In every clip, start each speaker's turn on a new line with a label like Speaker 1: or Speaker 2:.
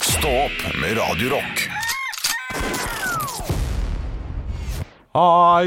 Speaker 1: Stå opp med Radio Rock.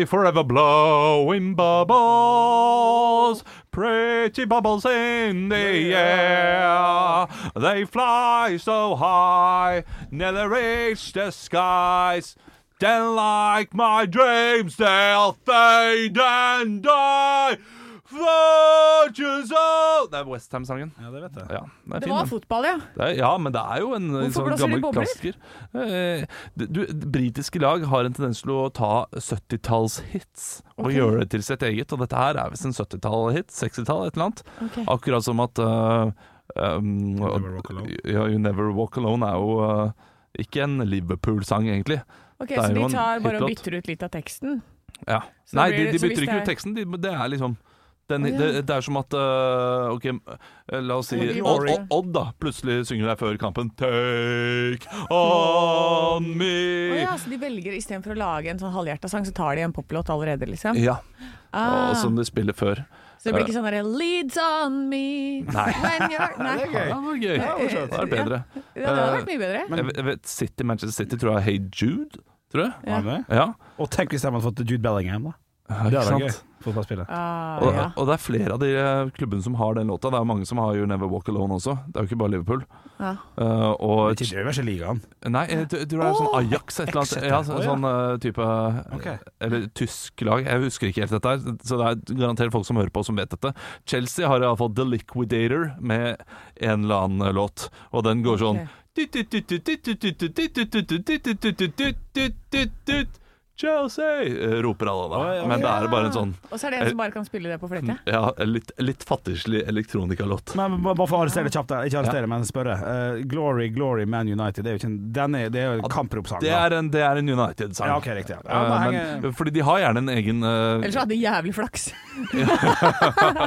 Speaker 2: I forever blow in bubbles, pretty bubbles in the air. They fly so high, never reach the skies. Then, like my dreams, they'll fade and die. Virtues of Det er Westham-sangen.
Speaker 3: Ja, det vet jeg.
Speaker 2: Ja, det er
Speaker 4: Det
Speaker 2: fin,
Speaker 4: var
Speaker 2: den.
Speaker 4: fotball, ja.
Speaker 2: Det er, ja, men det er jo en eh,
Speaker 4: Hvorfor
Speaker 2: sånn
Speaker 4: blåser de
Speaker 2: gammel
Speaker 4: bobler?
Speaker 2: klassiker. Eh, det- du, det britiske lag har en tendens til å ta 70-tallshits og
Speaker 4: Ok.
Speaker 2: gjøre det til sitt eget, og dette her er visst en 70-tall-hit, 60-tall, et eller annet.
Speaker 4: Ok.
Speaker 2: Akkurat som at eh,
Speaker 3: You
Speaker 2: um,
Speaker 3: Never Walk Alone.
Speaker 2: Ja, You Never Walk Alone er jo eh, ikke en Liverpool-sang, egentlig.
Speaker 4: Ok,
Speaker 2: er
Speaker 4: Så
Speaker 2: jo
Speaker 4: de
Speaker 2: en
Speaker 4: tar bare og
Speaker 2: hitlåt.
Speaker 4: bytter ut litt av teksten?
Speaker 2: Ja.
Speaker 4: Så
Speaker 2: Nei,
Speaker 4: blir
Speaker 2: de,
Speaker 4: det-
Speaker 2: de
Speaker 4: så hvis
Speaker 2: bytter
Speaker 4: det
Speaker 2: ikke ut
Speaker 4: er-
Speaker 2: teksten, de, det er liksom den,
Speaker 4: Å, ja.
Speaker 2: det, det er som at eh, OK, eh, la oss si
Speaker 4: Og de
Speaker 2: Odd,
Speaker 4: gjorde-
Speaker 2: Odd, da. Plutselig synger deg før kampen 'Take on
Speaker 4: Å
Speaker 2: me'.
Speaker 4: ja, så de velger istedenfor å lage en sånn halvhjerta sang, så tar de en poplåt allerede, liksom?
Speaker 2: Ja,
Speaker 4: Ah,
Speaker 2: og som de spiller før.
Speaker 4: så det blir ikke sånn derre 'Leads on me'
Speaker 2: Nei.
Speaker 4: when you're Nei.
Speaker 2: Ja, det var gøy.
Speaker 4: var
Speaker 2: Det
Speaker 4: morsomt.
Speaker 2: var bedre.
Speaker 4: Ja, det hadde vært mye bedre.
Speaker 2: Jeg vet- jeg vet, City, Manchester City tror jeg er Hey Jude, tror jeg.
Speaker 4: Ja.
Speaker 3: Var det?
Speaker 2: Ja,
Speaker 3: Og tenk hvis de hadde fått Jude Bellingham, da.
Speaker 2: ja
Speaker 3: Det
Speaker 2: ikke
Speaker 3: hadde vært
Speaker 2: sant?
Speaker 3: gøy. Fotballspiller.
Speaker 4: Ah,
Speaker 2: Og,
Speaker 4: ja.
Speaker 2: og det er flere av de eh, klubbene som har den låta. Det er mange som har You Never Walk Alone også. Det er jo ikke bare Liverpool.
Speaker 4: Ja.
Speaker 2: Eh, og
Speaker 3: Ikke øverste ligaen.
Speaker 2: Nei, jeg tror det er sånn
Speaker 4: Åh,
Speaker 2: Ajax et eller annet.
Speaker 3: Exeter.
Speaker 2: Ja, så,
Speaker 3: Å, ja.
Speaker 2: sånn eh, type
Speaker 3: Ok.
Speaker 2: Eller tysk lag. Jeg husker ikke helt dette her, så det er garantert folk som hører på som vet dette. Chelsea har iallfall The Liquidator med en eller annen eh, låt, og den går sånn
Speaker 4: Ok.
Speaker 2: Chelsea! eh, roper alle da.
Speaker 3: Å, ja.
Speaker 2: Men det er bare en sånn
Speaker 4: Og så er det en som bare kan spille det på fløyte?
Speaker 2: ja, litt, litt fattigslig elektronikalåt.
Speaker 3: Men må- Bare for å arrestere kjapt der, ikke arrestere, men spørre. Eh, glory, glory, Man United. Det er jo ikke en, den er, det er jo en kampropsang.
Speaker 2: Det
Speaker 3: da.
Speaker 2: er en, det er en United-sang.
Speaker 3: Ja, ok, riktig. Ja,
Speaker 2: Eh,
Speaker 3: da henger-
Speaker 2: men, fordi de har gjerne en egen eh,
Speaker 4: Ellers hadde de jævlig flaks.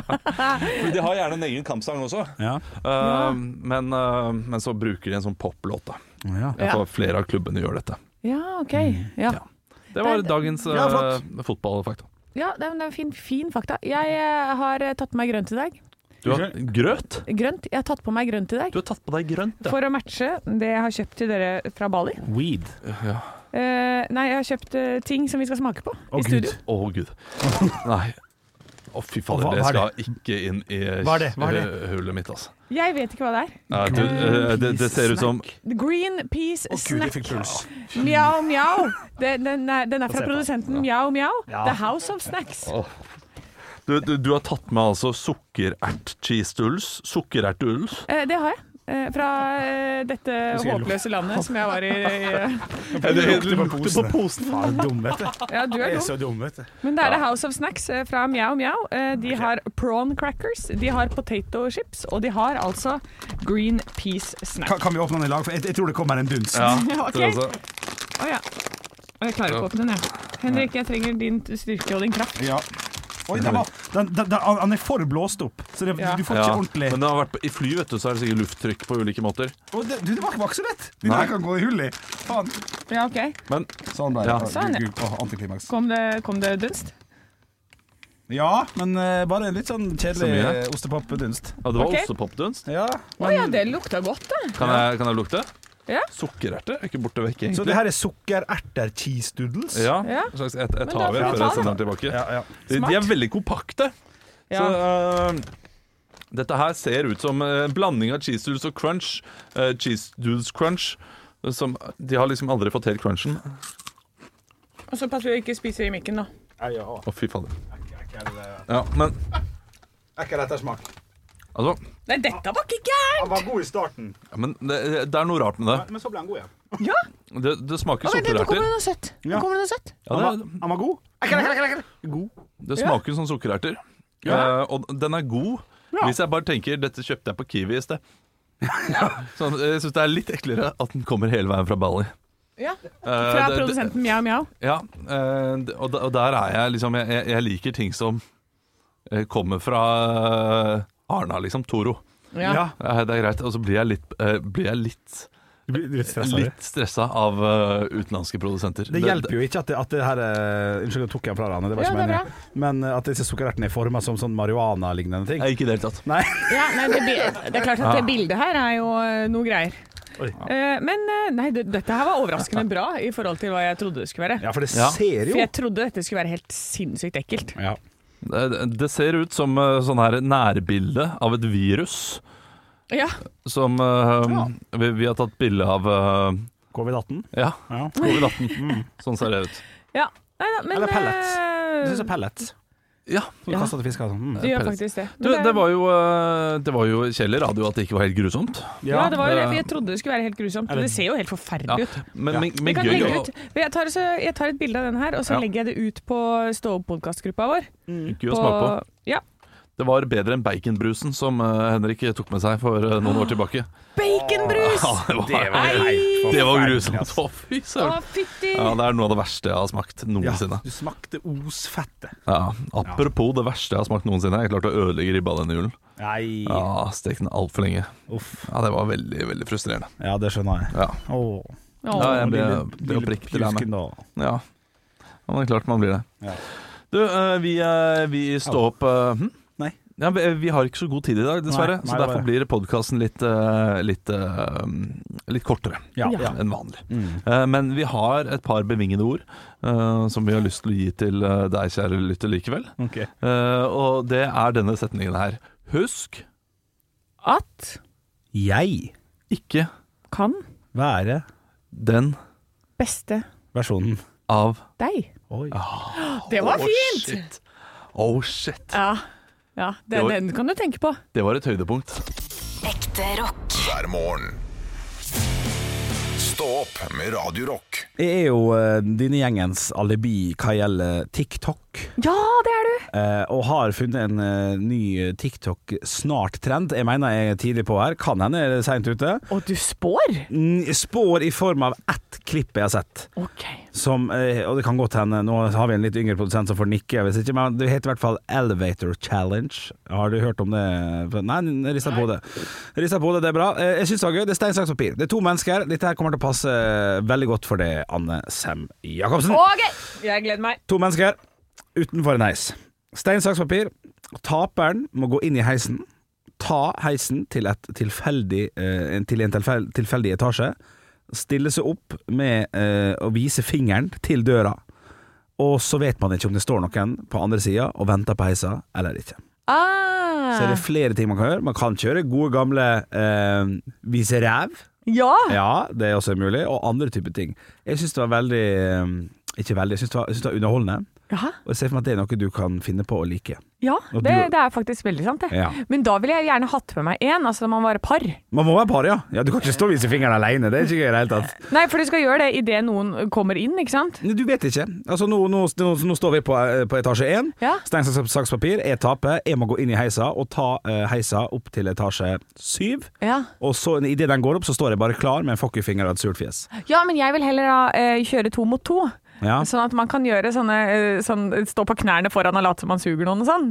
Speaker 2: Fordi de har gjerne en egen kampsang også.
Speaker 3: ja.
Speaker 4: Ja.
Speaker 2: men, eh, men så bruker de en sånn poplåt, da.
Speaker 3: Ja.
Speaker 2: Jeg
Speaker 4: Ja.
Speaker 2: tror flere av klubbene gjør dette.
Speaker 4: Ja, OK.
Speaker 2: Mm,
Speaker 4: Ja.
Speaker 2: Det var
Speaker 4: Det er-
Speaker 2: dagens eh,
Speaker 3: Ja, flott.
Speaker 2: fotballfakta.
Speaker 4: Ja, det er det er en fin, fin fakta. Jeg eh, har eh, tatt på meg grønt i dag.
Speaker 2: Du har grøt?
Speaker 4: Grønt. Jeg har tatt på meg grønt i dag.
Speaker 2: Du har tatt på deg grønt, ja.
Speaker 4: For å matche det jeg har kjøpt til dere fra Bali.
Speaker 3: Weed.
Speaker 2: ja.
Speaker 4: Eh, nei, jeg har kjøpt eh, ting som vi skal smake på
Speaker 3: Å,
Speaker 4: i
Speaker 3: Gud.
Speaker 4: studio.
Speaker 2: Å, gud. Nei. Å, fy fader.
Speaker 3: Hva-
Speaker 2: Det
Speaker 3: hva er
Speaker 2: skal ikke inn i
Speaker 3: Hva er det? Hva er det?
Speaker 2: eh, hullet mitt, altså.
Speaker 4: Jeg vet ikke hva det er.
Speaker 2: Nei, du, eh, det, det ser ut som
Speaker 4: Green Peace
Speaker 3: Å gud, jeg
Speaker 4: Snack.
Speaker 3: fikk puls.
Speaker 4: Mjau, mjau. Den, den, er- den er fra
Speaker 3: se på.
Speaker 4: produsenten Mjau, mjau.
Speaker 3: Ja.
Speaker 4: The House of Snacks.
Speaker 2: du, du, du har tatt med altså sukkerert-cheese-duls. Sukkerert-duls.
Speaker 4: Eh, det har jeg. Eh, fra eh, dette
Speaker 3: skal lukte.
Speaker 4: håpløse landet som jeg var i. eh, i-
Speaker 2: Det
Speaker 3: lukter på
Speaker 2: lukter på posen.
Speaker 3: Faen, dum, vet du.
Speaker 4: ja, du
Speaker 3: Jeg
Speaker 4: er
Speaker 3: er
Speaker 4: dum.
Speaker 3: så dum, vet du.
Speaker 4: Men det er The House of Snacks eh, fra Mjau, mjau. Eh, de har prawn crackers, de har potato chips, og de har altså Green Peace Snack.
Speaker 3: Kan, kan vi åpne den i lag? For jeg, jeg tror det kommer en dunst.
Speaker 2: Ja,
Speaker 4: Ok.
Speaker 2: tror jeg også.
Speaker 4: Å ja. Og jeg klarer ikke å åpne den, jeg. Henrik, jeg trenger din styrke og din kraft.
Speaker 3: Ja. Oi, den, var, den, den, den, han er for blåst opp, så det,
Speaker 4: Ja.
Speaker 3: du får ikke ordentlig
Speaker 2: Men det har vært på, i fly, vet du, så er det sikkert lufttrykk på ulike måter.
Speaker 3: Å, det, du, det var ikke- var ikke så lett! Den
Speaker 2: Nei.
Speaker 3: her kan gå i hull i. Faen.
Speaker 4: Ja, ok.
Speaker 2: Men
Speaker 3: Sånn ble det.
Speaker 2: Ja.
Speaker 3: Å,
Speaker 4: Sånn, ja.
Speaker 3: Gud, gud. Å, antiklimaks.
Speaker 4: Kom det, kom det dunst?
Speaker 3: Ja, men eh, bare en litt sånn
Speaker 2: Så
Speaker 3: kjedelig
Speaker 2: mye.
Speaker 3: eh, ostepopdunst.
Speaker 2: ja, det var
Speaker 4: Ok.
Speaker 2: ostepopdunst.
Speaker 3: Ja,
Speaker 4: Å ja, det lukta godt, da.
Speaker 2: Kan, jeg- kan jeg lukte?
Speaker 4: Ja.
Speaker 2: Sukkererte er ikke borte vekk, egentlig.
Speaker 3: Så det her er sukkererter cheese doodles?
Speaker 2: ja.
Speaker 4: Ja.
Speaker 2: en slags et, et
Speaker 4: Men da får
Speaker 2: haver
Speaker 4: vi
Speaker 2: før
Speaker 4: ta
Speaker 2: jeg sender den tilbake.
Speaker 3: Ja, ja.
Speaker 2: De, de er veldig kompakte. Så øh, dette her ser ut som øh, en blanding av cheese doodles og crunch. Øh, cheese doodles crunch. eh, Som, de har liksom aldri fått helt crunchen. Å,
Speaker 4: Og så passer vi ikke spiser i mikken, da.
Speaker 2: fy fader. Ja, men
Speaker 3: Ekkel ettersmak.
Speaker 2: altså
Speaker 4: Nei, dette var ikke gærent!
Speaker 3: Han var god i starten,
Speaker 2: ja, men det, det er noe rart med det.
Speaker 3: men så ble han god igjen.
Speaker 4: Ja.
Speaker 2: Det, det smaker sukkererter.
Speaker 4: noe søtt.
Speaker 3: Ja.
Speaker 4: kommer det noe søtt.
Speaker 2: Ja,
Speaker 3: Han
Speaker 2: det,
Speaker 3: var, han var god. Ekkel, ekkel, ekkel, ekkel. God.
Speaker 2: Det smaker som sukkererter. Eh, og den er god. Hvis jeg bare tenker dette kjøpte jeg på Kiwi i sted. Så eh, jeg syns det er litt eklere at den kommer hele veien fra Bali.
Speaker 4: Ja.
Speaker 2: Eh,
Speaker 4: Fra
Speaker 2: det- det-
Speaker 4: produsenten Mjau Mjau.
Speaker 2: Ja, eh, d- og, da- og der er jeg liksom Jeg, jeg- jeg liker ting som eh, kommer fra eh, Arna, liksom. Toro.
Speaker 4: Ja.
Speaker 3: Ja.
Speaker 2: Eh, det er greit. Og så blir jeg litt, eh, blir jeg litt,
Speaker 3: Du blir litt stressa, du.
Speaker 2: litt stressa av eh, utenlandske produsenter.
Speaker 3: Det hjelper jo ikke at det, at det her eh, Unnskyld, jeg tok jeg fra deg, Anne. Det var
Speaker 4: Ja,
Speaker 3: ikke
Speaker 4: det er
Speaker 3: meningen. Men eh, at disse sukkerertene er forma som sånn marihuana-lignende ting.
Speaker 2: Nei, Ikke i det hele tatt.
Speaker 3: Nei.
Speaker 4: Ja, nei, det, bi- det er klart at det bildet her er jo eh, noe greier.
Speaker 5: Oi.
Speaker 4: Eh, men eh, nei, det, dette her var overraskende bra i forhold til hva jeg trodde det skulle være.
Speaker 5: Ja, for det
Speaker 2: Ja.
Speaker 5: ser
Speaker 4: For
Speaker 5: jo
Speaker 4: jeg trodde dette skulle være helt sinnssykt ekkelt.
Speaker 3: Ja.
Speaker 2: Eh, Det, det ser ut som eh, sånn her nærbilde av et virus
Speaker 4: Ja,
Speaker 2: som eh, vi, vi har tatt bilde av eh,
Speaker 3: Covid-18.
Speaker 2: Ja,
Speaker 3: Ja.
Speaker 4: Mm.
Speaker 2: covid-18. Sånn ser det ut.
Speaker 4: ja. Nei da, men
Speaker 3: Eller pellets.
Speaker 4: eh,
Speaker 3: Du syns det er pellets?
Speaker 2: Ja.
Speaker 3: Du
Speaker 4: Ja.
Speaker 3: kaster til fisker og sånn. Mm.
Speaker 4: det gjør
Speaker 2: pellets.
Speaker 4: faktisk det.
Speaker 2: Du, det var jo, eh, det var jo Kjell i radio at det ikke var helt grusomt.
Speaker 4: ja, det var jo det, for jeg
Speaker 2: det-
Speaker 4: trodde det skulle være helt grusomt.
Speaker 3: Eller-
Speaker 4: Det ser jo helt forferdelig
Speaker 2: Ja.
Speaker 4: ut.
Speaker 2: Men,
Speaker 3: Ja.
Speaker 2: men,
Speaker 4: Vi
Speaker 2: men
Speaker 4: kan
Speaker 2: gøy
Speaker 4: legge
Speaker 2: å,
Speaker 4: ut. Jeg tar, også, jeg tar et bilde av den her, og så
Speaker 2: Ja.
Speaker 4: legger jeg det ut på Stå opp-podkastgruppa vår.
Speaker 2: gøy å smake på.
Speaker 4: Ja.
Speaker 2: Det var bedre enn baconbrusen som eh, Henrik tok med seg for eh, noen år tilbake.
Speaker 4: Baconbrus!
Speaker 2: Ja, det var,
Speaker 5: Det var,
Speaker 4: Nei.
Speaker 5: helt
Speaker 2: det var
Speaker 5: forferdelig,
Speaker 2: grusomt.
Speaker 5: altså.
Speaker 2: Å, fy
Speaker 4: Å,
Speaker 2: søren.
Speaker 4: fytti!
Speaker 2: Ja, det er noe av det verste jeg har smakt noensinne.
Speaker 3: Du smakte osfettet.
Speaker 2: Ja, apropos det verste jeg har smakt noensinne. Jeg klarte å ødelegge ribba denne julen.
Speaker 3: Nei.
Speaker 2: Ja, Stek den altfor lenge.
Speaker 3: Uff.
Speaker 2: Ja, Det var veldig veldig frustrerende.
Speaker 3: Ja, det skjønner jeg.
Speaker 2: Ja,
Speaker 3: Åh.
Speaker 4: Å,
Speaker 2: ja jeg ble,
Speaker 3: Lille-
Speaker 2: ble
Speaker 3: lille
Speaker 2: oppriktig lei meg.
Speaker 3: pjusken da.
Speaker 2: Ja. ja, men klart man blir det.
Speaker 3: Ja.
Speaker 2: Du, eh, vi, eh, vi står opp eh, hm?
Speaker 3: Nei.
Speaker 2: Ja, vi, vi har ikke så god tid i dag,
Speaker 3: Nei, nei,
Speaker 2: dessverre. så
Speaker 3: det
Speaker 2: derfor
Speaker 3: var-
Speaker 2: blir podkasten litt, eh, litt, eh, litt kortere
Speaker 3: Ja.
Speaker 4: Ja.
Speaker 3: ja.
Speaker 2: enn vanlig.
Speaker 3: Mm.
Speaker 2: Eh, Men vi har et par bevingede ord eh, som vi har lyst til å gi til eh, deg, kjære lytter, likevel.
Speaker 3: Ok.
Speaker 2: Eh, og det er denne setningen her. Husk
Speaker 4: At
Speaker 3: Jeg
Speaker 2: ikke
Speaker 4: kan
Speaker 3: være
Speaker 2: den
Speaker 4: beste
Speaker 3: versjonen.
Speaker 2: av
Speaker 4: deg.
Speaker 3: Oi.
Speaker 4: Det var
Speaker 2: Å,
Speaker 4: fint!
Speaker 2: shit. Oh shit.
Speaker 4: Ja. ja
Speaker 2: Det
Speaker 4: den,
Speaker 2: var-
Speaker 4: den kan du tenke på.
Speaker 2: Det var et høydepunkt.
Speaker 6: Ekte rock.
Speaker 1: hver morgen. Stå opp med Radio Rock.
Speaker 3: Jeg er jo eh, denne gjengens alibi hva gjelder TikTok,
Speaker 4: Ja, det er du!
Speaker 3: eh, og har funnet en eh, ny TikTok-snart-trend. Jeg mener jeg er tidlig på her, kan hende jeg er seint ute.
Speaker 4: Og du spår!
Speaker 3: Mm, Spår i form av ett klipp jeg har sett.
Speaker 4: OK.
Speaker 3: Som, eh, og det kan godt hende, nå har vi en litt yngre produsent som får nikke hvis ikke, men det heter i hvert fall Elevator Challenge. Har du hørt om det? Nei, rista på hodet. Rista på hodet, det er bra. Eh, Jeg syns det var gøy. Det er stein, saks, papir. Det er to mennesker. Dette her kommer til å passe veldig godt for det, Anne Sem
Speaker 2: Mm.
Speaker 3: Jacobsen.
Speaker 4: OK! Jeg gleder meg.
Speaker 3: To mennesker utenfor en heis. Stein, saks, papir. Taperen må gå inn i heisen. Ta heisen til, et tilfeldig, eh, en- til en tilfel- tilfeldig etasje. Stille seg opp med eh, å vise fingeren til døra. Og så vet man ikke om det står noen på andre sida og venter på heisa eller ikke. Så er
Speaker 4: Ah.
Speaker 3: det flere ting man kan gjøre. Man kan kjøre gode gamle eh, vise ræv.
Speaker 4: Ja!
Speaker 3: Ja, det er også mulig. Og andre typer ting. Jeg syns det var veldig eh, Ikke veldig, jeg syns det, var- jeg synes det var underholdende.
Speaker 4: Ja,
Speaker 3: Og jeg ser for meg at det er noe du kan finne på å like.
Speaker 4: ja
Speaker 3: Og
Speaker 4: det,
Speaker 3: du-
Speaker 4: det er faktisk veldig sant, det.
Speaker 3: Ja.
Speaker 4: Men da ville jeg gjerne hatt med meg én, altså da man var par.
Speaker 3: Man må være par, ja. ja. Du kan ikke stå og vise fingeren alene. Det er ikke gøy i det hele tatt.
Speaker 4: Nei, for du skal gjøre det idet noen kommer inn, ikke sant?
Speaker 3: Men Du vet ikke. Altså, nå, nå, nå, nå står vi på, eh, på etasje én.
Speaker 4: Ja.
Speaker 3: Stein, saks, saks, papir. Jeg taper. Jeg må gå inn i heisa og ta eh, heisa opp til etasje syv.
Speaker 4: Ja,
Speaker 3: Og så idet den går opp, så står jeg bare klar med en fuck you-finger og et surt fjes.
Speaker 4: ja men jeg vil heller da eh, kjøre to mot to.
Speaker 3: Ja.
Speaker 4: Sånn at man kan gjøre sånne eh, sånn, Stå på knærne foran og late som man suger noen og sånn.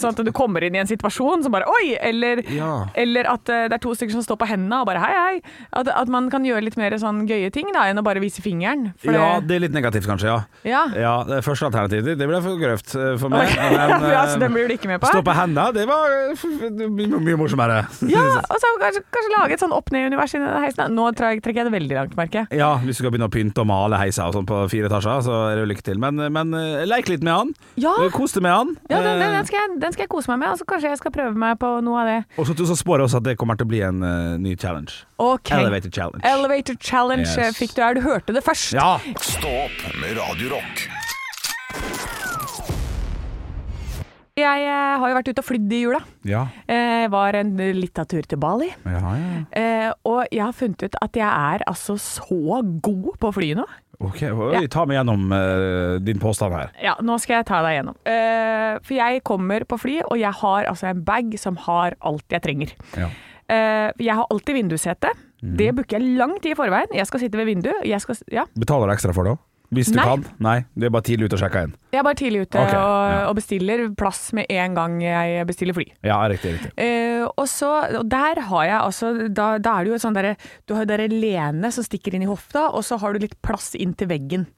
Speaker 4: Sånn at du kommer inn i en situasjon som bare Oi! Eller,
Speaker 3: Ja.
Speaker 4: eller at eh, det er to stykker som står på hendene og bare hei, hei. At, at man kan gjøre litt mer sånn gøye ting da, enn å bare vise fingeren. For
Speaker 3: ja,
Speaker 4: det,
Speaker 3: det er litt negativt, kanskje. Ja.
Speaker 4: ja.
Speaker 3: ja det første alternativet det ble for grøvt eh, for meg.
Speaker 4: Ok,
Speaker 3: Men,
Speaker 4: ja, så
Speaker 3: eh,
Speaker 4: den blir du ikke med på?
Speaker 3: Stå på henda, det var eh, f- f- mye morsommere.
Speaker 4: Ja, og så kanskje, kanskje lage et sånn opp-ned-univers i den heisen. da. Nå tra- trekker jeg det veldig langt, merker jeg.
Speaker 3: Ja, hvis du skal begynne å pynte og male heisa og sånn på fire etasjer, så er det jo lykke til. Men, men eh, leik litt med han.
Speaker 4: Ja,
Speaker 3: Eh, Kos deg med han.
Speaker 4: ja den, den, den,
Speaker 3: Eh,
Speaker 4: skal jeg, den skal jeg kose meg med, og så kanskje jeg skal prøve meg på noe av det.
Speaker 3: Og så, så spår jeg også at det kommer til å bli en eh, ny challenge.
Speaker 4: Ok.
Speaker 3: Elevator challenge.
Speaker 4: Elevator challenge
Speaker 3: Yes.
Speaker 4: eh, fikk du her. Du hørte det først.
Speaker 3: ja.
Speaker 1: Stå opp med Radio Rock
Speaker 4: Jeg eh, har jo vært ute og flydd i jula.
Speaker 3: Ja.
Speaker 4: Eh, var en lita tur til Bali.
Speaker 3: Ja, ja.
Speaker 4: Eh, og jeg har funnet ut at jeg er altså så god på å fly nå.
Speaker 3: Ok, oi, ta meg gjennom eh, din påstand her.
Speaker 4: Ja, nå skal jeg ta deg gjennom. Eh, for jeg kommer på fly, og jeg har altså en bag som har alt jeg trenger.
Speaker 3: Ja.
Speaker 4: Eh, jeg har alltid vindussete.
Speaker 3: Mhm.
Speaker 4: Det booker jeg lang tid i forveien. Jeg skal sitte ved vinduet. Jeg, skal, s- ja.
Speaker 3: Betaler du ekstra for det òg? Hvis du
Speaker 4: Nei.
Speaker 3: kan? Nei, du er bare tidlig ute og sjekker inn.
Speaker 4: jeg er bare tidlig ute
Speaker 3: Ok,
Speaker 4: og,
Speaker 3: ja.
Speaker 4: og bestiller plass med en gang jeg bestiller fly.
Speaker 3: Ja, riktig. riktig
Speaker 4: Eh, og, så, og der har jeg altså Da, da er det jo et sånn derre Du har jo derre lene som stikker inn i hofta, og så har du litt plass inn til veggen.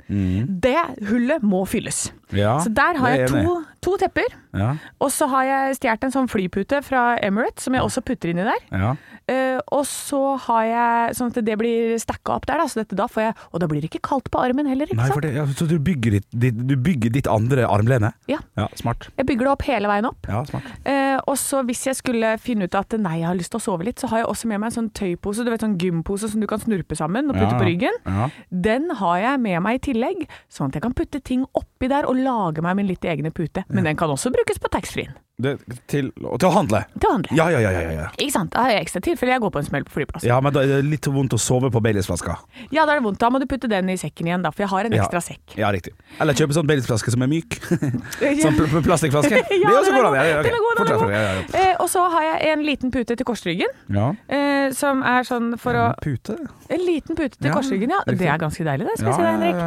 Speaker 4: Det hullet må fylles.
Speaker 3: Ja,
Speaker 4: så der
Speaker 3: Mhm.
Speaker 4: har
Speaker 3: Ah, det er
Speaker 4: jeg
Speaker 3: enig.
Speaker 4: to, to tepper.
Speaker 3: Ja, Ah.
Speaker 4: Og så har jeg stjålet en sånn flypute fra Emirates, som jeg også putter inni der.
Speaker 3: ja.
Speaker 4: Eh, Eh, og så har jeg Sånn at det blir stacka opp der, da. Så dette, da får jeg Og da blir det ikke kaldt på armen heller, ikke
Speaker 3: Nei,
Speaker 4: sant?
Speaker 3: for det, ja, så du bygger ditt, ditt, du bygger ditt andre armlene?
Speaker 4: Ja.
Speaker 3: Ja, smart.
Speaker 4: Jeg bygger det opp hele veien opp.
Speaker 3: Ja, smart.
Speaker 4: Eh, og så hvis jeg skulle finne ut at nei, jeg har lyst til å sove litt, så har jeg også med meg en sånn tøypose, du vet sånn gympose som du kan snurpe sammen og putte
Speaker 3: Ja,
Speaker 4: på ryggen.
Speaker 3: ja.
Speaker 4: Den har jeg med meg i tillegg, sånn at jeg kan putte ting oppi der og lage meg min litt egne pute. Men den kan også brukes på taxfree-en
Speaker 3: Det, til, og til å handle.
Speaker 4: til å handle.
Speaker 3: Ja, ja, ja. ja, ja, ja.
Speaker 4: Ikke sant? Da har jeg ekstra tilfelle jeg går på en smell på flyplassen.
Speaker 3: ja men da er det litt vondt å sove på Baileys-flaska.
Speaker 4: Ja. da er det vondt. Da må du putte den i sekken igjen, da, for jeg har en
Speaker 3: Ja.
Speaker 4: ekstra sekk.
Speaker 3: Ja, riktig. Eller kjøpe sånn Baileys-flaske som er myk. sånn pl pl- plastikkflaske.
Speaker 4: Ja,
Speaker 3: det er også
Speaker 4: den
Speaker 3: går an. Ja, ja, ok.
Speaker 4: Den er god, den
Speaker 3: Fortsett,
Speaker 4: er god.
Speaker 3: fortsett, ja, ja,
Speaker 4: Eh, og så har jeg en liten pute til korsryggen,
Speaker 3: ja.
Speaker 4: eh, som er sånn for å
Speaker 3: En Pute?
Speaker 4: En liten pute til
Speaker 3: Ja,
Speaker 4: korsryggen, ja. Det er ganske deilig, det, skal jeg si deg, Henrik.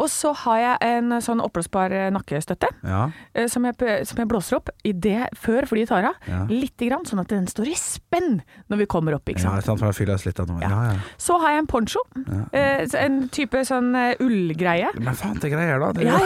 Speaker 4: Og så har jeg en sånn oppblåsbar eh, nakkestøtte.
Speaker 3: Ja.
Speaker 4: eh, Som jeg, p- som jeg blåser opp i det, før flyet tar av.
Speaker 3: Ja.
Speaker 4: Lite grann, sånn at den står i spenn når vi kommer opp. ikke
Speaker 3: Ja,
Speaker 4: sant?
Speaker 3: sant, for jeg fyller oss litt av noe. Ja. Ja,
Speaker 4: Så har jeg en poncho. eh, så En type sånn eh, ullgreie.
Speaker 3: Men faen, det greier da. Det,
Speaker 4: Ja, ja,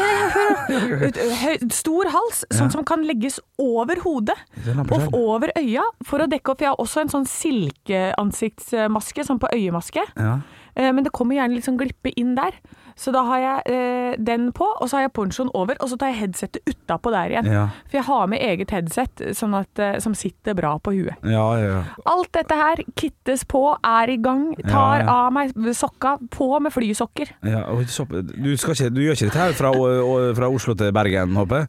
Speaker 4: ja, hør. Ut- høy- Stor hals, sånn som kan legges over hodet
Speaker 3: er en
Speaker 4: og
Speaker 3: lampesløyd.
Speaker 4: over øya for å dekke opp. Jeg har også en sånn silkeansiktsmaske, sånn på øyemaske.
Speaker 3: Ja.
Speaker 4: Eh, Men det kommer gjerne litt sånn glippe inn der. Så da har jeg eh, den på, og så har jeg ponchoen over, og så tar jeg headsetet utapå der igjen.
Speaker 3: Ja.
Speaker 4: For jeg har med eget headset sånn at, eh, som sitter bra på huet.
Speaker 3: Ja, ja, ja.
Speaker 4: Alt dette her kittes på, er i gang,
Speaker 3: Ja,
Speaker 4: tar
Speaker 3: ja.
Speaker 4: av meg sokka, på med flysokker.
Speaker 3: Ja, og så- du, skal ikke, du gjør ikke dette her fra, og- fra Oslo til Bergen, håper jeg?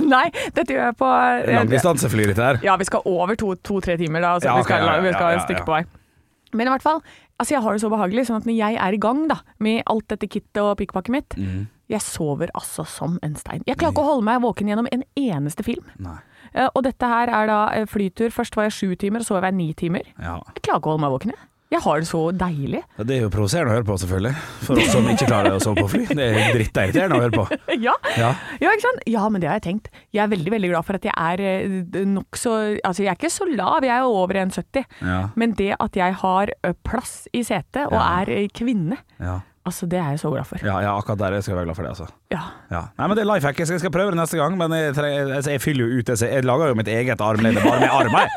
Speaker 4: Nei, dette gjør jeg på eh,
Speaker 3: Langdistansefly, dette her.
Speaker 4: Ja, vi skal over to- to-tre timer, da. Så
Speaker 3: Ja,
Speaker 4: vi skal,
Speaker 3: ok, ja, ja,
Speaker 4: vi skal
Speaker 3: ja, ja,
Speaker 4: et stykke
Speaker 3: ja.
Speaker 4: på vei. Men i hvert fall, altså jeg har det så behagelig, sånn at når jeg er i gang da, med alt dette kittet og pikkpakket mitt,
Speaker 3: Mm.
Speaker 4: jeg sover altså som en stein. Jeg klarer ikke å holde meg våken gjennom en eneste film.
Speaker 3: Nei.
Speaker 4: Eh, Og dette her er da eh, flytur. Først var jeg sju timer, og så var jeg ni timer.
Speaker 3: Ja.
Speaker 4: Jeg klarer ikke å holde meg våken, jeg. Jeg har det så deilig.
Speaker 3: Det er jo provoserende å høre på, selvfølgelig. For oss som ikke klarer å sove på fly. Det er drittirriterende å høre på.
Speaker 4: ja.
Speaker 3: Ja.
Speaker 4: Ja, ikke sant? Ja, men det har jeg tenkt. Jeg er veldig, veldig glad for at jeg er nokså Altså, jeg er ikke så lav, jeg er jo over 1,70.
Speaker 3: Ja.
Speaker 4: Men det at jeg har ø, plass i setet og
Speaker 3: Ja.
Speaker 4: er ø, kvinne,
Speaker 3: Ja.
Speaker 4: altså det er jeg så glad for.
Speaker 3: Ja, ja, akkurat der skal jeg være glad for det, altså.
Speaker 4: Ja.
Speaker 3: Ja. Nei, men det er life hack. Jeg skal- jeg skal prøve det neste gang, men jeg, tre- altså, jeg fyller jo ut det. så Jeg lager jo mitt eget armlene bare med armer.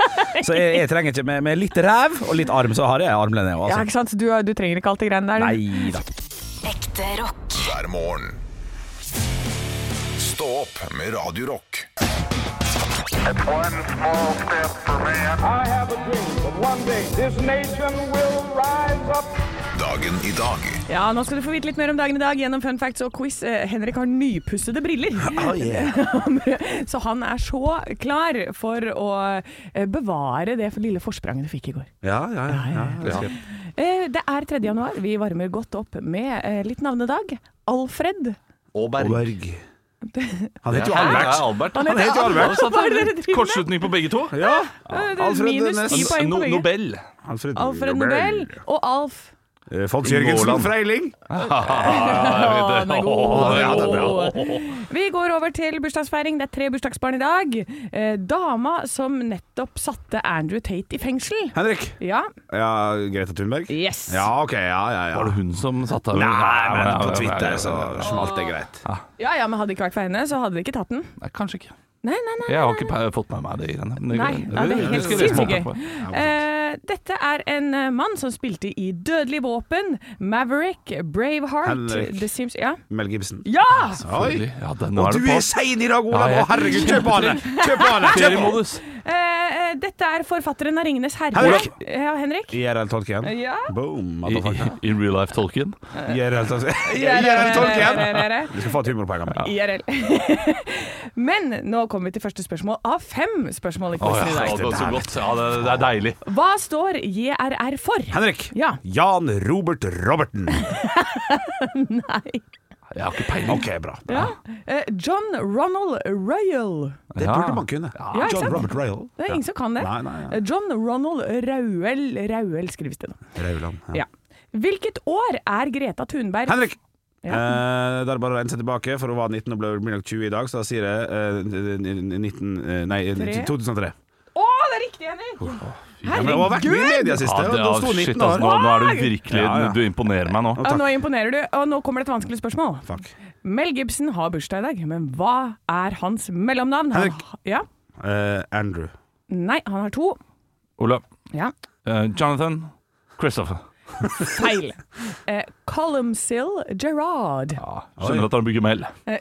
Speaker 3: Så jeg, jeg trenger ikke med, med litt ræv og litt arm, så har jeg armlene òg,
Speaker 4: Ja,
Speaker 3: altså.
Speaker 4: ikke sant? Du, du trenger ikke alt det greiene der. du.
Speaker 3: Nei da.
Speaker 6: Ekte rock.
Speaker 1: hver morgen. Stå opp med Radio Rock.
Speaker 5: One small step for man.
Speaker 7: I have a dream that one day this nation will rise up.
Speaker 1: Dagen i dag
Speaker 4: Ja, nå skal du få vite litt mer om dagen i dag gjennom fun facts og quiz. Eh, Henrik har nypussede briller. så han er så klar for å eh, bevare det lille forspranget du fikk i går.
Speaker 3: Ja, ja, ja. ja, ja.
Speaker 4: Eh, Det er 3. januar. Vi varmer godt opp med eh, litt navnedag. Alfred.
Speaker 2: Og Berg.
Speaker 3: Berg. Han heter jo
Speaker 2: Ja,
Speaker 3: Albert.
Speaker 2: det er Albert.
Speaker 4: Han heter Albert.
Speaker 2: Så
Speaker 4: Hva er det dere driver med?
Speaker 2: Kortslutning på begge to. Altså,
Speaker 3: Ja.
Speaker 4: Eh,
Speaker 3: Alfred
Speaker 4: Minus
Speaker 3: Næss.
Speaker 4: ti poeng
Speaker 2: No
Speaker 4: på begge.
Speaker 2: Nobel.
Speaker 3: Alfred,
Speaker 4: Alfred Nobel og Alf.
Speaker 3: Eh, Fons Jørgensen
Speaker 2: Måland.
Speaker 3: Freiling.
Speaker 4: Å, den er god.
Speaker 2: Ja,
Speaker 4: Den
Speaker 2: det er
Speaker 4: er
Speaker 2: bra.
Speaker 4: god. Vi går over til bursdagsfeiring. Det er tre bursdagsbarn i dag. Eh, Dama som nettopp satte Andrew Tate i fengsel.
Speaker 3: Henrik.
Speaker 4: Ja.
Speaker 3: Ja, Greta Thunberg?
Speaker 4: Yes.
Speaker 3: Ja, ok, ja, ja, ja.
Speaker 2: Var det hun som satt der?
Speaker 3: Nei,
Speaker 2: Ja, ja,
Speaker 3: men
Speaker 2: ja,
Speaker 3: på
Speaker 2: ja, ja,
Speaker 3: Twitter
Speaker 2: ja.
Speaker 3: så smalt det greit.
Speaker 4: ja, ja, men hadde det ikke vært for henne, så hadde de ikke tatt den.
Speaker 2: Nei, kanskje ikke.
Speaker 4: Nei, nei, nei.
Speaker 2: Jeg har ikke pe- fått med meg det greiene. men det-
Speaker 4: Nei, nei, det er helt
Speaker 2: skal jeg lese meg
Speaker 4: sinnssykt
Speaker 2: opp på.
Speaker 4: Eh, dette er en eh, mann som spilte i Dødelig våpen, Maverick, Braveheart
Speaker 3: Henrik.
Speaker 4: The Sims Ja!
Speaker 3: Mel Gibson.
Speaker 4: ja!
Speaker 2: Selvfølgelig. Ja, den
Speaker 3: Og
Speaker 2: var
Speaker 3: du
Speaker 2: det
Speaker 3: er
Speaker 2: på.
Speaker 3: sein i dag, Olav!
Speaker 2: Ja, jeg-
Speaker 3: Å, herregud, kjøp av det! Kjøp av det! Kjøp av det!
Speaker 2: Feriemodus.
Speaker 4: Eh, eh, dette er forfatteren av 'Ringenes herre'.
Speaker 3: Henrik.
Speaker 4: Ja, Henrik.
Speaker 3: IRL Tolkien.
Speaker 4: Ja.
Speaker 3: Boom,
Speaker 2: I,
Speaker 3: motherfucker.
Speaker 2: i, in real life Tolkien.
Speaker 3: IRL Tolkien. IRL Tolkien!
Speaker 4: Ja.
Speaker 3: Du skal få et humorpoeng av meg.
Speaker 4: IRL. Men nå kommer vi til første spørsmål av fem spørsmål i
Speaker 2: Å,
Speaker 4: quizen i
Speaker 2: ja,
Speaker 4: dag.
Speaker 2: det var så godt. Ja, det, det er deilig.
Speaker 4: Hva står JRR for?
Speaker 3: Henrik.
Speaker 4: Ja.
Speaker 3: Jan Robert Roberten.
Speaker 4: Nei.
Speaker 2: Jeg har ikke peiling.
Speaker 3: Ok, bra.
Speaker 4: Ja. Eh, John Ronald Royal.
Speaker 3: Det burde man kunne.
Speaker 4: Ja, ikke sant?
Speaker 3: John Robert Rail.
Speaker 4: Det er ingen som kan det.
Speaker 3: Nei, nei, nei.
Speaker 4: Eh, John Ronald Rauel Rauel skrives det nå.
Speaker 3: Rauland. ja.
Speaker 4: Ja. Hvilket år er Greta Thunberg
Speaker 3: Henrik!
Speaker 4: Ja.
Speaker 3: Eh, det er bare å rense tilbake, for hun var 19 og ble blir nok 20 i dag, så da sier jeg eh, n- n- 19, eh, nei,
Speaker 4: Tre.
Speaker 3: 2003.
Speaker 4: Å, det er riktig, Henrik!
Speaker 3: Ja, men hun har vært mye i media siste,
Speaker 2: Ja,
Speaker 3: og
Speaker 2: det,
Speaker 3: nå
Speaker 2: ja,
Speaker 3: sto
Speaker 2: shit,
Speaker 3: 19
Speaker 2: altså,
Speaker 3: år.
Speaker 2: nå, nå er du virkelig
Speaker 3: Ja, ja.
Speaker 2: Du imponerer meg nå.
Speaker 3: Å,
Speaker 4: Ja,
Speaker 3: takk.
Speaker 4: nå imponerer du. Og nå kommer det et vanskelig spørsmål.
Speaker 3: Fuck.
Speaker 4: Mel Gibson har bursdag i dag, men hva er hans mellomnavn? Han-
Speaker 3: Henrik.
Speaker 4: Ja.
Speaker 3: Eh, Andrew.
Speaker 4: Nei, han har to.
Speaker 2: Olav.
Speaker 4: Ja.
Speaker 2: eh, Jonathan Christopher.
Speaker 4: Feil. Eh, Columcille Gerard.
Speaker 2: Skjønner at han bygger mail.
Speaker 3: Ja,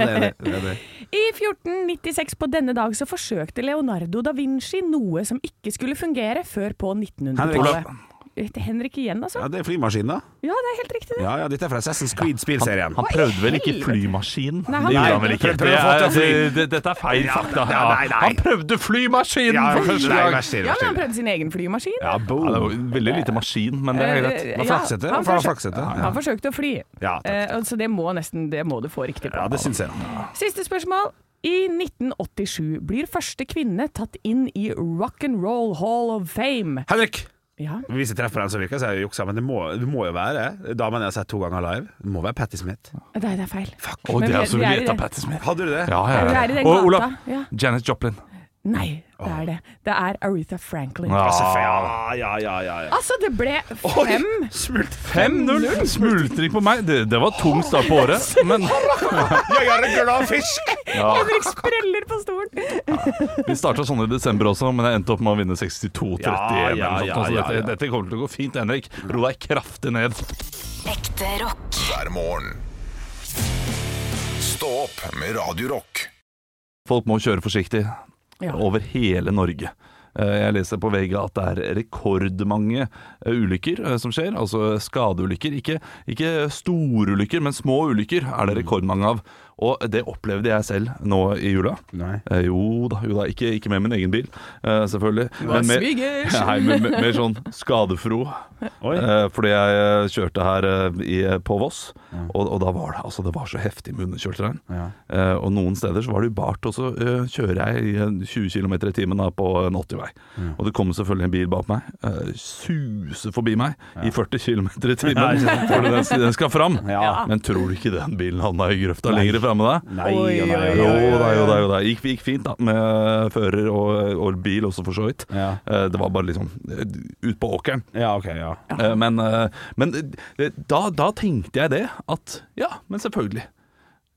Speaker 3: det er det. det, er det.
Speaker 4: I 1496 på denne dag så forsøkte Leonardo da Vinci noe som ikke skulle fungere før på 1900-tallet. Henrik. Henrik igjen, altså?
Speaker 3: Ja, det er flymaskinen, da.
Speaker 4: Ja, det er helt riktig, det.
Speaker 3: Ja, ja, dette er fra Assassin's Creed spilserien.
Speaker 2: Han prøvde vel ikke flymaskinen?
Speaker 4: Nei, han-
Speaker 2: det gjorde han vel ikke.
Speaker 3: Prøv- prøv
Speaker 2: Det
Speaker 3: å få
Speaker 2: er,
Speaker 3: til
Speaker 2: det,
Speaker 3: fly.
Speaker 2: det, dette er feil fakta. Ja,
Speaker 3: nei, nei.
Speaker 2: Han prøvde flymaskinen for første gang!
Speaker 4: Ja, men han prøvde sin egen flymaskin.
Speaker 3: Ja, boom.
Speaker 2: Ja, det var veldig lite maskin, men det er greit.
Speaker 4: Eh,
Speaker 3: var
Speaker 4: ja,
Speaker 3: flaksete, for
Speaker 4: han
Speaker 3: han var
Speaker 4: forsøk-
Speaker 3: flaksete.
Speaker 4: Han
Speaker 3: Ja.
Speaker 4: forsøkte å fly.
Speaker 3: Ja, takk,
Speaker 4: Eh, så det må nesten Det må du få riktig på.
Speaker 3: Ja, det syns jeg.
Speaker 4: Siste spørsmål. I 1987 blir første kvinne tatt inn i Rock and Roll Hall of Fame.
Speaker 3: Henrik!
Speaker 4: Ja,
Speaker 3: Hvis jeg treffer den som virker, så er det juksa, men det må, det må jo være damen jeg har sett to ganger live. Det må være Patti Smith.
Speaker 4: Nei, det er feil.
Speaker 2: Og
Speaker 4: Men
Speaker 2: det
Speaker 4: vi-
Speaker 2: er så
Speaker 4: vi er i
Speaker 2: lett av
Speaker 4: det.
Speaker 2: Patti Smith.
Speaker 3: Hadde du det?
Speaker 2: Ja, ja,
Speaker 4: Vi
Speaker 2: ja.
Speaker 4: er i den
Speaker 2: Og Olav,
Speaker 4: gata, ja.
Speaker 2: Janis Joplin.
Speaker 4: Nei, det er det. Det er Aretha Franklin.
Speaker 2: Ja.
Speaker 3: Ja, ja, ja, ja, ja.
Speaker 4: Altså, det ble fem.
Speaker 3: Smult.
Speaker 2: 5-0! Smultring på meg. Det, det var tung start på året, men
Speaker 3: Jeg er en glad fisk!
Speaker 4: Henrik spreller på stolen.
Speaker 2: vi starta sånn i desember også, men jeg endte opp med å vinne 62-31.
Speaker 3: Ja,
Speaker 2: eller
Speaker 3: ja,
Speaker 2: noe
Speaker 3: ja,
Speaker 2: sånt, så
Speaker 3: ja,
Speaker 2: dette,
Speaker 3: ja.
Speaker 2: dette kommer til å gå fint, Henrik. Ro deg kraftig ned.
Speaker 6: Ekte rock.
Speaker 1: hver morgen. Stå opp med Radio Rock.
Speaker 2: Folk må kjøre forsiktig
Speaker 4: Ja.
Speaker 2: over hele Norge. Eh, Jeg leser på VG at det er rekordmange eh, ulykker eh, som skjer, altså skadeulykker. Ikke, ikke store ulykker, men små ulykker er
Speaker 3: Mm.
Speaker 2: det rekordmange av. Og det opplevde jeg selv nå i jula.
Speaker 3: Nei.
Speaker 2: Eh, Jo da, jo da. Ikke, ikke med min egen bil, eh, selvfølgelig. Men med,
Speaker 4: svigers.
Speaker 2: nei, men med, med sånn skadefro.
Speaker 3: Oi.
Speaker 2: Eh, fordi jeg eh, kjørte her eh, i, på Voss, og, og da var det altså det var så heftig med underkjølt regn.
Speaker 3: Ja.
Speaker 2: Eh, og noen steder så var det jo bart, og så eh, kjører jeg i en 20 km i timen da, på en 80-vei. Og det kommer selvfølgelig en bil bak meg, eh, suser forbi meg i 40 km i timen, fordi den, den skal fram.
Speaker 3: Ja.
Speaker 2: Men tror du ikke den bilen havna i grøfta lenger framme da?
Speaker 3: Nei,
Speaker 4: Oi,
Speaker 3: ja, nei,
Speaker 4: oi,
Speaker 3: ja,
Speaker 2: Jo
Speaker 3: ja, ja.
Speaker 2: da, jo da. jo da Gikk, gikk fint da, med fører og, og bil også, for så vidt.
Speaker 3: Ja.
Speaker 2: Eh, Det var bare liksom eh, ut på åkeren.
Speaker 3: Ja, ok, ja.
Speaker 2: Eh, Men, eh, men eh, da, da tenkte jeg det, at ja, men selvfølgelig.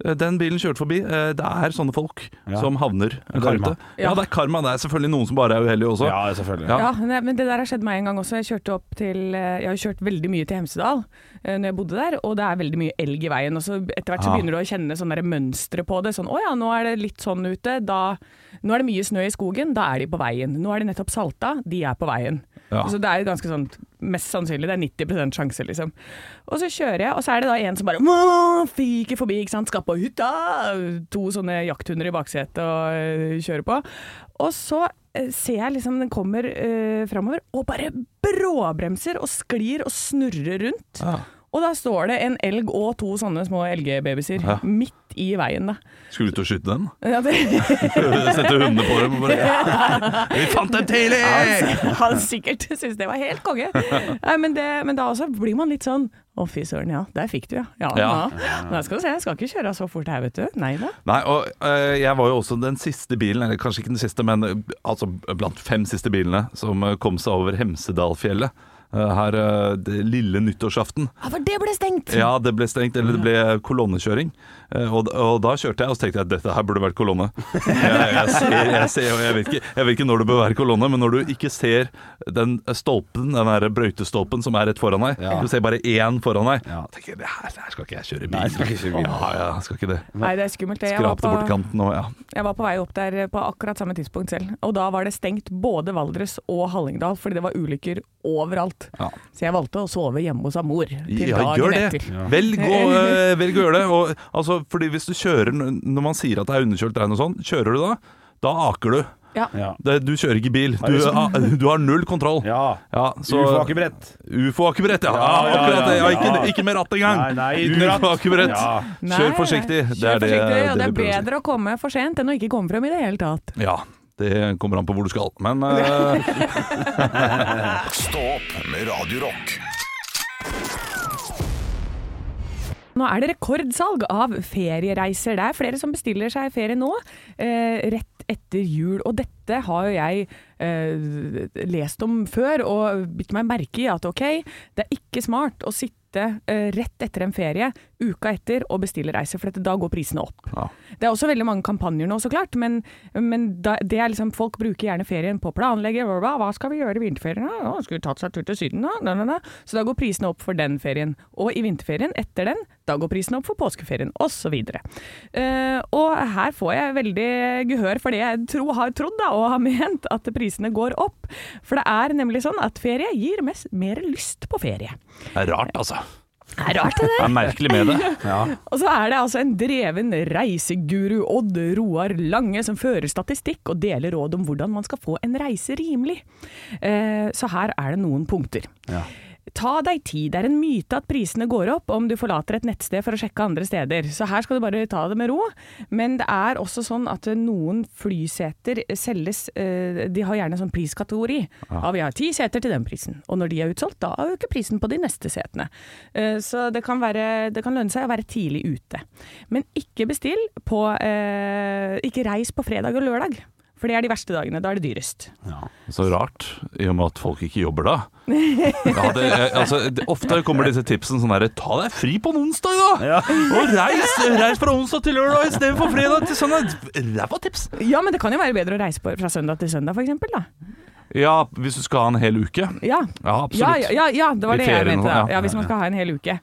Speaker 2: Eh, Den bilen kjørte forbi. eh, Det er sånne folk
Speaker 3: Ja.
Speaker 2: som havner der
Speaker 3: Karma.
Speaker 2: ute. Ja, det er karma. Det er selvfølgelig noen som bare er uheldige også.
Speaker 3: Ja, selvfølgelig.
Speaker 2: Ja.
Speaker 4: Ja, nei, men det der har skjedd meg en gang også. Jeg kjørte opp til eh, Jeg har jo kjørt veldig mye til Hemsedal eh, når jeg bodde der, og det er veldig mye elg i veien. Og så etter hvert så
Speaker 2: Ah.
Speaker 4: begynner du å kjenne sånne der mønstre på det. Sånn å ja, nå er det litt sånn ute. Da, nå er det mye snø i skogen, da er de på veien. Nå er de nettopp salta, de er på veien.
Speaker 2: Ja.
Speaker 4: Så det er jo ganske sånn Mest sannsynlig, det er 90 sjanse, liksom. Og så kjører jeg, og så er det da en som bare «Må!» fyker forbi, ikke sant, skal på hytta. To sånne jakthunder i baksetet og øh, kjører på. Og så øh, ser jeg liksom den kommer øh, framover og bare bråbremser og sklir og snurrer rundt.
Speaker 2: Ja.
Speaker 4: Og da står det en elg og to sånne små elgebabyser
Speaker 2: Ja.
Speaker 4: midt i veien, da.
Speaker 2: Skulle du ut og skyte dem?
Speaker 4: Ja, det-
Speaker 2: Sette hundene på dem og bare Vi fant dem tidlig!
Speaker 4: Han, Altså, han sikkert syntes det var helt konge. Nei, men, det, men da også blir man litt sånn Å, fy søren, ja. Der fikk du, ja. Ja, ja.
Speaker 2: Ja.
Speaker 4: Nei, skal du se, jeg skal ikke kjøre så fort her, vet du. Nei da.
Speaker 2: Nei, og eh, jeg var jo også den siste bilen, eller kanskje ikke den siste, men eh, altså blant fem siste bilene som eh, kom seg over Hemsedalfjellet. eh, her eh, det lille nyttårsaften.
Speaker 4: Ja, for det ble stengt!
Speaker 2: Ja, det ble stengt, eller det ble kolonnekjøring. Eh, og, og da kjørte jeg, og så tenkte jeg at dette her burde vært kolonne. Jeg, jeg, ser, jeg, ser, og jeg, vet ikke, jeg vet ikke når det bør være kolonne, men når du ikke ser den stolpen, den der brøytestolpen som er rett foran deg,
Speaker 3: Ja.
Speaker 2: du ser bare én foran deg,
Speaker 3: Ja.
Speaker 2: tenker jeg, det her, det her skal ikke jeg kjøre bil.
Speaker 3: Nei, skal ikke kjøre bil.
Speaker 2: Ja, ja, skal ikke det.
Speaker 4: Nei, det er skummelt. det. Jeg var,
Speaker 2: Skrapte bort
Speaker 4: på,
Speaker 2: kanten og ja.
Speaker 4: jeg var på vei opp der eh, på akkurat samme tidspunkt selv, og da var det stengt både Valdres og Hallingdal, fordi det var ulykker overalt.
Speaker 2: Ja.
Speaker 4: Så jeg valgte å sove hjemme hos av mor til
Speaker 2: Ja,
Speaker 4: dagen
Speaker 2: gjør det.
Speaker 4: etter.
Speaker 2: Velg å, eh, velg å gjøre det. Og, altså, fordi hvis du kjører n- når man sier at det er underkjølt regn og sånn, kjører du da, da aker du.
Speaker 4: Ja.
Speaker 3: Ja.
Speaker 2: Det, du kjører ikke bil. Du, a- du har null kontroll.
Speaker 3: ja.
Speaker 2: Ja, så-
Speaker 3: Ufo-akebrett.
Speaker 2: Ufo-akebrett, ja.
Speaker 3: Ja,
Speaker 2: ja,
Speaker 3: ja,
Speaker 2: akkurat det. Ja,
Speaker 3: ja, ja.
Speaker 2: ikke, ikke med ratt engang.
Speaker 3: Nei, nei, uten ratt.
Speaker 2: Ufo-akebrett.
Speaker 3: Ja.
Speaker 4: Nei,
Speaker 2: Kjør forsiktig.
Speaker 4: Kjør
Speaker 2: Det er det,
Speaker 4: forsiktig, og det
Speaker 2: det
Speaker 4: er
Speaker 2: vi prøver å si.
Speaker 4: bedre å komme for sent enn å ikke komme frem i det hele tatt.
Speaker 2: Ja, det kommer an på hvor du skal. Men eh,
Speaker 1: Stå opp med Radio Rock
Speaker 4: Nå er det rekordsalg av feriereiser. Det er flere som bestiller seg ferie nå, eh, rett etter jul. Og dette dette har jo jeg eh, lest om før og bitt meg merke i at ok, det er ikke smart å sitte eh, rett etter en ferie, uka etter, og bestille reiser, for dette, da går prisene opp.
Speaker 3: Ja.
Speaker 4: Det er også veldig mange kampanjer nå, så klart, men, men da, det er liksom, folk bruker gjerne ferien på å planlegge. Bla, bla, hva skal vi gjøre i vinterferien? Ja, skulle vi tatt seg tur til Syden? Da, da, da, da. Så da går prisene opp for den ferien. Og i vinterferien etter den, da går prisene opp for påskeferien, osv. Uh, og her får jeg veldig gehør for det jeg tro, har trodd da, og har ment, at prisene går opp. For det er nemlig sånn at ferie gir mest, mer lyst på ferie.
Speaker 2: Det er rart, altså.
Speaker 4: Det er rart det
Speaker 8: Det
Speaker 4: der.
Speaker 8: er merkelig med det.
Speaker 4: Og så er det altså en dreven reiseguru, Odd Roar Lange, som fører statistikk og deler råd om hvordan man skal få en reise rimelig. Eh, Så her er det noen punkter. Ta deg tid. Det er en myte at prisene går opp om du forlater et nettsted for å sjekke andre steder. Så her skal du bare ta det med ro. Men det er også sånn at noen flyseter selges eh, De har gjerne sånn priskategori. Ja, vi har ti seter til den prisen. Og når de er utsolgt, da øker prisen på de neste setene. Eh, Så det kan, være, det kan lønne seg å være tidlig ute. Men ikke bestill på eh, Ikke reis på fredag og lørdag. For det er de verste dagene. Da er det dyrest.
Speaker 2: Så rart, i og med at folk ikke jobber da. Ja, det, eh, altså, det, ofte kommer disse tipsene sånn herre Ta deg fri på en onsdag, da! Og reis, reis fra onsdag til lørdag istedenfor fredag til søndag! Ræva tips!
Speaker 4: Ja, men det kan jo være bedre å reise på fra søndag til søndag, f.eks. da.
Speaker 2: Ja, hvis du skal ha en hel uke.
Speaker 4: Ja.
Speaker 2: Ja,
Speaker 4: Ja,
Speaker 2: absolutt.
Speaker 4: ja, ja, ja, det
Speaker 2: I
Speaker 4: var det jeg
Speaker 2: ferien og
Speaker 4: mente.
Speaker 2: sånn,
Speaker 4: da.
Speaker 2: ja.
Speaker 4: Ja, hvis man skal ha en hel uke.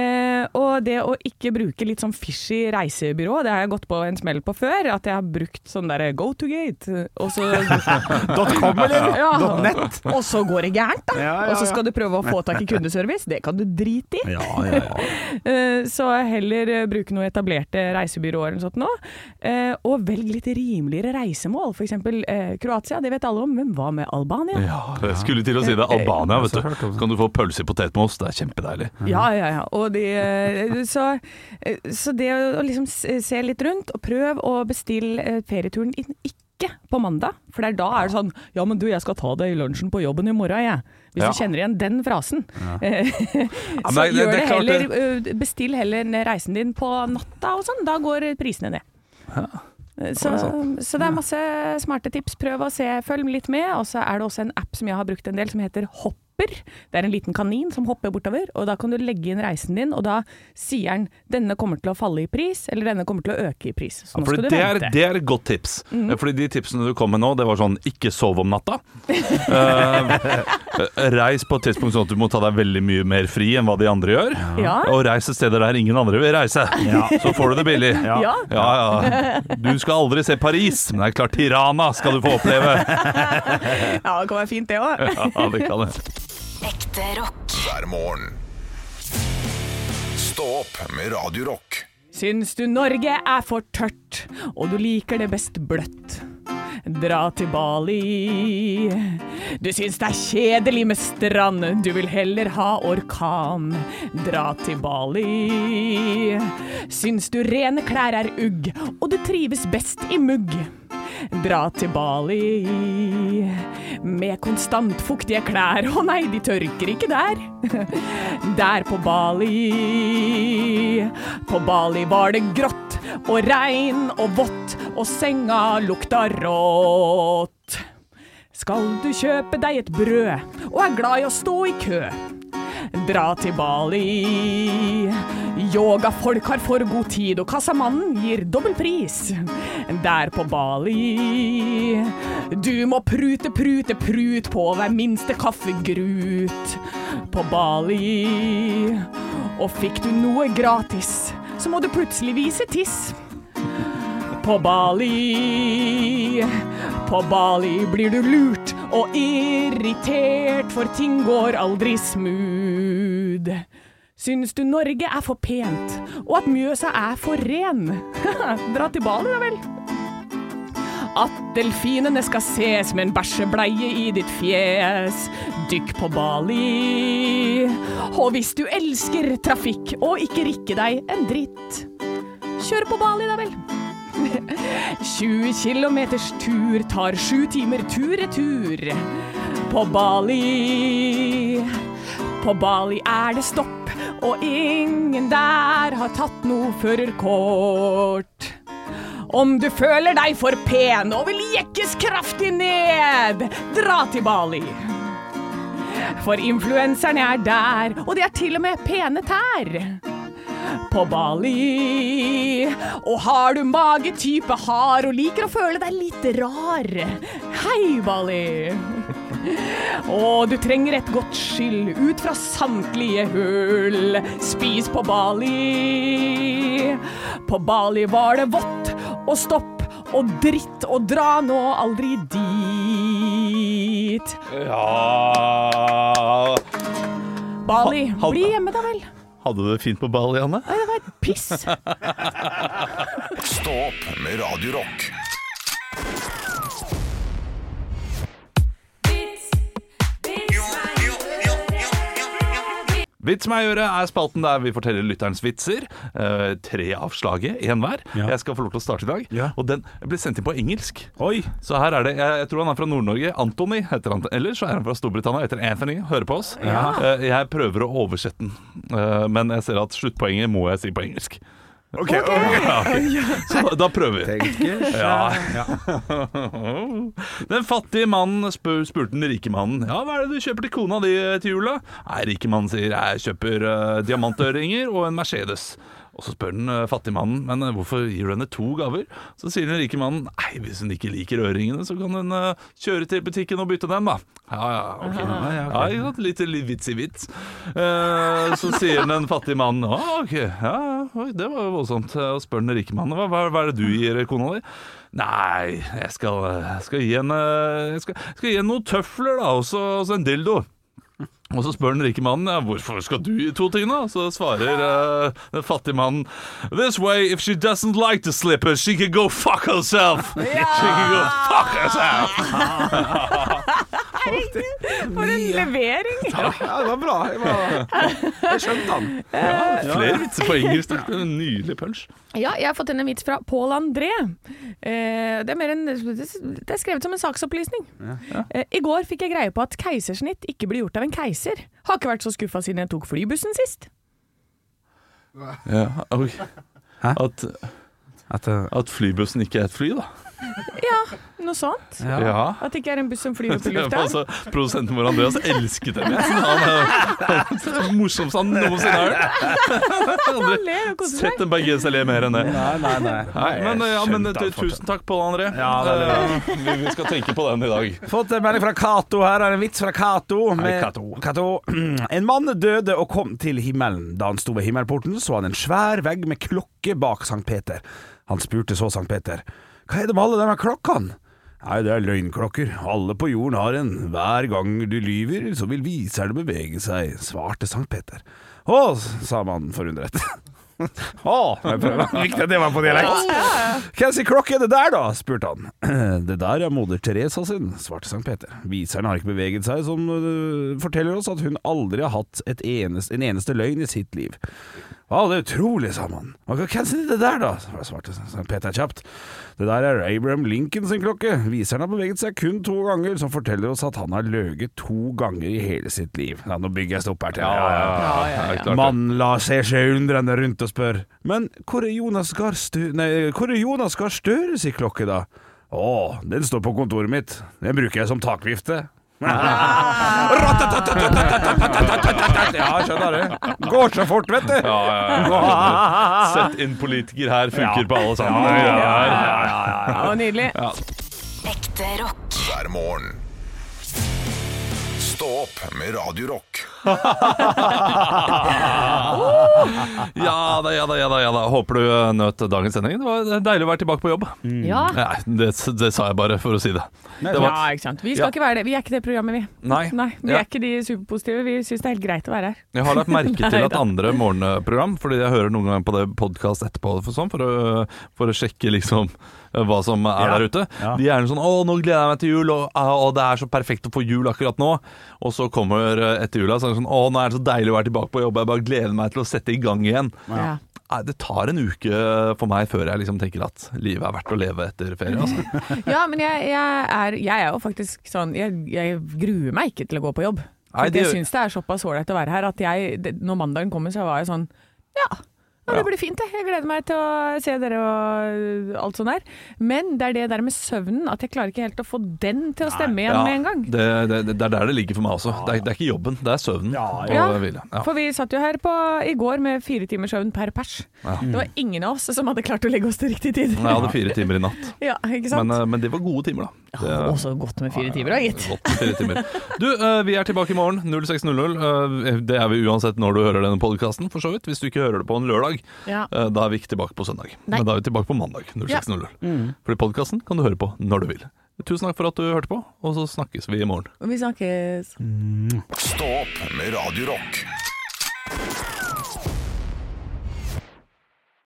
Speaker 4: Eh, og det å ikke bruke litt sånn fishy reisebyrå, det har jeg gått på en smell på før. At jeg har brukt sånn derre go to gate, og så
Speaker 3: .com, eller?
Speaker 4: ja,
Speaker 3: .net?
Speaker 4: Og så går det gærent, da.
Speaker 3: Ja, ja,
Speaker 4: Og så
Speaker 3: ja.
Speaker 4: skal du prøve å få tak i kundeservice. Det kan du drite i.
Speaker 3: Ja, ja, ja.
Speaker 4: Eh, Så heller eh, bruke noen etablerte reisebyråer eller noe sånt nå. Eh, Og velg litt rimeligere reisemål. F.eks. Kroatia, det vet alle om, men hva med Albania?
Speaker 2: Ja, jeg skulle til å si det. Albania, vet du. Så kan du få pølse i potetmos. Det er kjempedeilig.
Speaker 4: Ja, ja, ja. Og de, eh, så, eh, så det å liksom s- se litt rundt, og prøv å bestille eh, ferieturen inn ikke på mandag. For det er da er det sånn Ja, men du, jeg skal ta det i lunsjen på jobben i morgen, jeg. Hvis
Speaker 2: Ja.
Speaker 4: du kjenner igjen den frasen. Eh,
Speaker 2: Ja,
Speaker 4: så
Speaker 2: men det-
Speaker 4: gjør
Speaker 2: det
Speaker 4: det,
Speaker 2: er klart
Speaker 4: heller eh, Bestill heller ned reisen din på natta og sånn. Da går prisene ned. Eh, Så, så det er masse smarte tips. Prøv å se, følg litt med. Og så er det også en app som jeg har brukt en del, som heter Hopper. Det er en liten kanin som hopper bortover, og da kan du legge inn reisen din, og da sier den 'denne kommer til å falle i pris', eller 'denne kommer til å øke i pris'. Så
Speaker 2: Ja,
Speaker 4: nå
Speaker 2: for
Speaker 4: skal du
Speaker 2: det, er,
Speaker 4: vente. Mm.
Speaker 2: det er et godt tips. Fordi de tipsene du kom med nå, det var sånn ikke sov om natta. Eh, reis på et tidspunkt sånn at du må ta deg veldig mye mer fri enn hva de andre gjør.
Speaker 4: Ja.
Speaker 2: Og reis til steder der ingen andre vil reise. Så får du det billig.
Speaker 4: Ja.
Speaker 2: Ja, ja. Du skal aldri se Paris, men det er klart Tirana skal du få oppleve.
Speaker 4: ja, det kan være fint det òg.
Speaker 2: Ja, det kan jeg.
Speaker 6: Ekte rock.
Speaker 1: hver morgen. Stå opp med Radio Rock.
Speaker 4: Syns du Norge er for tørt, og du liker det best bløtt? Dra til Bali. Du syns det er kjedelig med strand, du vil heller ha orkan. Dra til Bali. Syns du rene klær er ugg, og du trives best i mugg. Dra til Bali med konstant fuktige klær. Å nei, de tørker ikke der. Der på Bali. På Bali var det grått og regn og vått, og senga lukta rått. Skal du kjøpe deg et brød og er glad i å stå i kø? Dra til Bali. Yogafolk har for god tid, og kassamannen gir dobbel pris. Der på Bali. Du må prute, prute, prut på hver minste kaffegrut. På Bali. Og fikk du noe gratis, så må du plutselig vise tiss på Bali. På Bali blir du lurt og irritert, for ting går aldri smooth. Syns du Norge er for pent, og at Mjøsa er for ren? Dra til Bali, da vel. At delfinene skal ses med en bæsjebleie i ditt fjes. Dykk på Bali. Og hvis du elsker trafikk og ikke rikker deg en dritt, kjør på Bali, da vel. 20 kilometers tur tar sju timer tur-retur. På Bali. På Bali er det stopp, og ingen der har tatt noe førerkort. Om du føler deg for pen og vil jekkes kraftig ned, dra til Bali. For influenserne er der, og de har til og med pene tær på Bali. Og har du magetype hard og liker å føle deg litt rar, hei Bali. Og du trenger et godt skyll ut fra samtlige hull. Spis på Bali. På Bali var det vått og stopp og dritt og dra nå aldri dit.
Speaker 2: Ja
Speaker 4: Bali,
Speaker 2: Ha- ha-
Speaker 4: bli hjemme da vel.
Speaker 2: Hadde du det fint på Bali, Anne?
Speaker 4: Nei, det var piss.
Speaker 1: Stå opp med Radio Rock.
Speaker 2: Vits meg i øret er spalten der vi forteller lytterens vitser. Eh, tre av slaget, én hver.
Speaker 3: Ja.
Speaker 2: Jeg skal få lov til å starte i dag.
Speaker 3: Ja.
Speaker 2: Og den ble sendt inn på engelsk.
Speaker 3: Oi!
Speaker 2: Så her er det, jeg, jeg tror han er fra Nord-Norge. Anthony heter han. Eller så er han fra Storbritannia. Heter Anthony. Hører på oss. Eh, jeg prøver å oversette den, eh, men jeg ser at sluttpoenget må jeg si på engelsk. Ok, Ja, ok. Så da, da prøver vi. Ja. Den fattige mannen spør, spurte den rike mannen Ja, hva er det du kjøper til kona di eh, til jula? Nei, rike mannen sier jeg kjøper eh, diamantøringer og en Mercedes Og så spør den eh, fattige mannen Men eh, hvorfor gir du henne to gaver? Så sier den rike mannen Nei, hvis hun ikke liker øringene så kan hun eh, kjøre til butikken og bytte dem da Ja, ja, ok ja, ikke sant? Litt, litt vits i vits Eh, Så sier den fattige mannen Å, ok, ja, ja, oi, det var jo voldsomt Og spør den rike mannen Hva, hva, hva er det du gir kona di? Nei, jeg skal, jeg skal gi henne jeg skal, jeg skal gi henne noen tøfler da, og så og så en dildo. Og så spør den rike mannen ja, hvorfor skal du gi to ting, da? Så svarer eh, den fattige mannen This way, if she doesn't like the slipper, she can go fuck herself! She can go fuck herself!
Speaker 4: For en levering.
Speaker 3: Ja, det var bra. Jeg, skjønte han.
Speaker 2: Flere vitser på engelsk. Det er en Nydelig punch.
Speaker 4: Ja, jeg har fått inn en vits fra Pål André. Eh, det, er mer en, det er skrevet som en saksopplysning. Eh, I går fikk jeg greie på at keisersnitt ikke blir gjort av en keiser. Har ikke vært så skuffa siden jeg tok flybussen sist.
Speaker 2: Ja, oi.
Speaker 3: Hæ?
Speaker 2: At,
Speaker 3: At, eh,
Speaker 2: at flybussen ikke er et fly, da.
Speaker 4: Ja, noe sånt.
Speaker 3: ja.
Speaker 4: At det ikke er en buss som flyr opp i lufta.
Speaker 2: Altså, produsenten vår Andreas elsket den vitsen. Han er den morsomste han noensinne har hørt.
Speaker 4: Han ler og koser
Speaker 2: Sett
Speaker 4: seg.
Speaker 2: en bergenser le mer enn det.
Speaker 3: Nei, nei, nei.
Speaker 2: Nei, men ja, men
Speaker 3: Skjønte
Speaker 2: du,
Speaker 3: han fortsatt.
Speaker 2: tusen takk, Pål André.
Speaker 3: Ja, veldig bra.
Speaker 2: Eh, vi, vi skal tenke på den i dag.
Speaker 3: Fått en melding fra Cato her. Er det en vits fra Cato. med-
Speaker 2: Cato.
Speaker 3: Cato. En mann døde og kom til himmelen. Da han sto ved himmelporten, så han en svær vegg med klokke bak Sankt Peter. Han spurte så Sankt Peter. Hva er det med alle de her klokkene? Nei, det er løgnklokker. Alle på jorden har en. Hver gang du lyver, så vil viserne bevege seg, svarte Sankt Peter. Å, sa mannen forundret. Å, jeg prøver. Viktig at det var på dialekt. Hvem sin klokke er det der, da? spurte han. Det der er moder Teresa sin, svarte Sankt Peter. Viseren har ikke beveget seg, som øh, forteller oss at hun aldri har hatt et eneste, en eneste løgn i sitt liv. Å, det er utrolig, sa mannen. «Men Hvem sin er det der, da? svarte Sankt Peter kjapt. Det der er Abraham Lincoln sin klokke. Viseren har beveget seg kun to ganger, som forteller oss at han har løyet to ganger i hele sitt liv. Ja, nå bygger jeg seg opp her til. Ja, ja, ja. Mannen la seg seg undrende rundt og spør Men hvor er Jonas Gahr Stø- nei, hvor er Jonas Gahr Støre sin klokke da? Å, den står på kontoret mitt Den bruker jeg som takvifte Ja, skjønner du Går så fort, vet du
Speaker 2: Ja, ja, ja. Sett inn politiker her funker på alle sammen.
Speaker 4: Ja, det var nydelig.
Speaker 6: Ekte rock.
Speaker 1: hver morgen. Stå opp med Radio Rock.
Speaker 2: Ja da, ja da, ja da. ja da Håper du eh, nøt dagens sending. Det var eh, deilig å være tilbake på jobb.
Speaker 4: Ja.
Speaker 2: Nei, det, det sa jeg bare for å si det. det
Speaker 4: ja,
Speaker 2: var,
Speaker 4: ikke sant. Vi skal
Speaker 2: Ja.
Speaker 4: ikke være det. Vi er ikke det programmet, vi.
Speaker 2: Nei.
Speaker 4: Nei, Vi
Speaker 2: Ja.
Speaker 4: er ikke de superpositive. Vi syns det er helt greit å være her.
Speaker 2: jeg har lagt merke til
Speaker 4: Nei
Speaker 2: at
Speaker 4: da.
Speaker 2: andre morgenprogram Fordi jeg hører noen ganger på det podkast etterpå for, sånn, for, å, for å sjekke liksom eh, hva som er
Speaker 3: Ja.
Speaker 2: der ute.
Speaker 3: Ja.
Speaker 2: De er gjerne sånn 'Å, nå gleder jeg meg til jul', og, «Å, og 'det er så perfekt å få jul akkurat nå'. Og så kommer eh, etter jula, så er det sånn 'Å, nå er det så deilig å være tilbake på jobb', jeg bare gleder meg til å sette i gang igjen'.
Speaker 4: Ja.
Speaker 2: Nei, det tar en uke eh, for meg før jeg liksom tenker at livet er verdt å leve etter ferie. Altså.
Speaker 4: Ja, men jeg, jeg, er, jeg er jo faktisk sånn jeg, jeg gruer meg ikke til å gå på jobb.
Speaker 2: Nei,
Speaker 4: For
Speaker 2: det
Speaker 4: jeg
Speaker 2: gjør-
Speaker 4: syns det er såpass ålreit å være her at jeg, det, når mandagen kommer, så var jeg sånn Ja, Ja, det blir fint. det. Jeg gleder meg til å se dere og alt sånt der. Men det er det der med søvnen, at jeg klarer ikke helt å få den til å stemme igjen med en gang.
Speaker 2: Det, det, det er der det ligger for meg også. Det er, det er ikke jobben, det er søvnen. og
Speaker 4: Ja,
Speaker 2: hvile. Ja.
Speaker 4: for vi satt jo her på, i går med fire timers søvn per pers. Det var ingen av oss som hadde klart å legge oss til riktig tid.
Speaker 2: Jeg hadde fire timer i natt,
Speaker 4: Ja, ikke sant?
Speaker 2: men, eh, men det var gode timer, da. Det,
Speaker 4: Ja, også godt med fire timer, da, gitt.
Speaker 2: Godt med fire timer. Du, eh, vi er tilbake i morgen 06.00. Eh, Det er vi uansett når du hører denne podkasten, for så vidt. Hvis du ikke hører det på en lørdag,
Speaker 4: Ja.
Speaker 2: eh, da er vi ikke tilbake på søndag.
Speaker 4: Nei. Mm.
Speaker 2: Men da er vi tilbake på mandag 06.00. Fordi podkasten kan du høre på når du vil. Tusen takk for at du hørte på, og så snakkes vi i morgen.
Speaker 4: Vi snakkes.
Speaker 1: Stå opp med Radio Rock.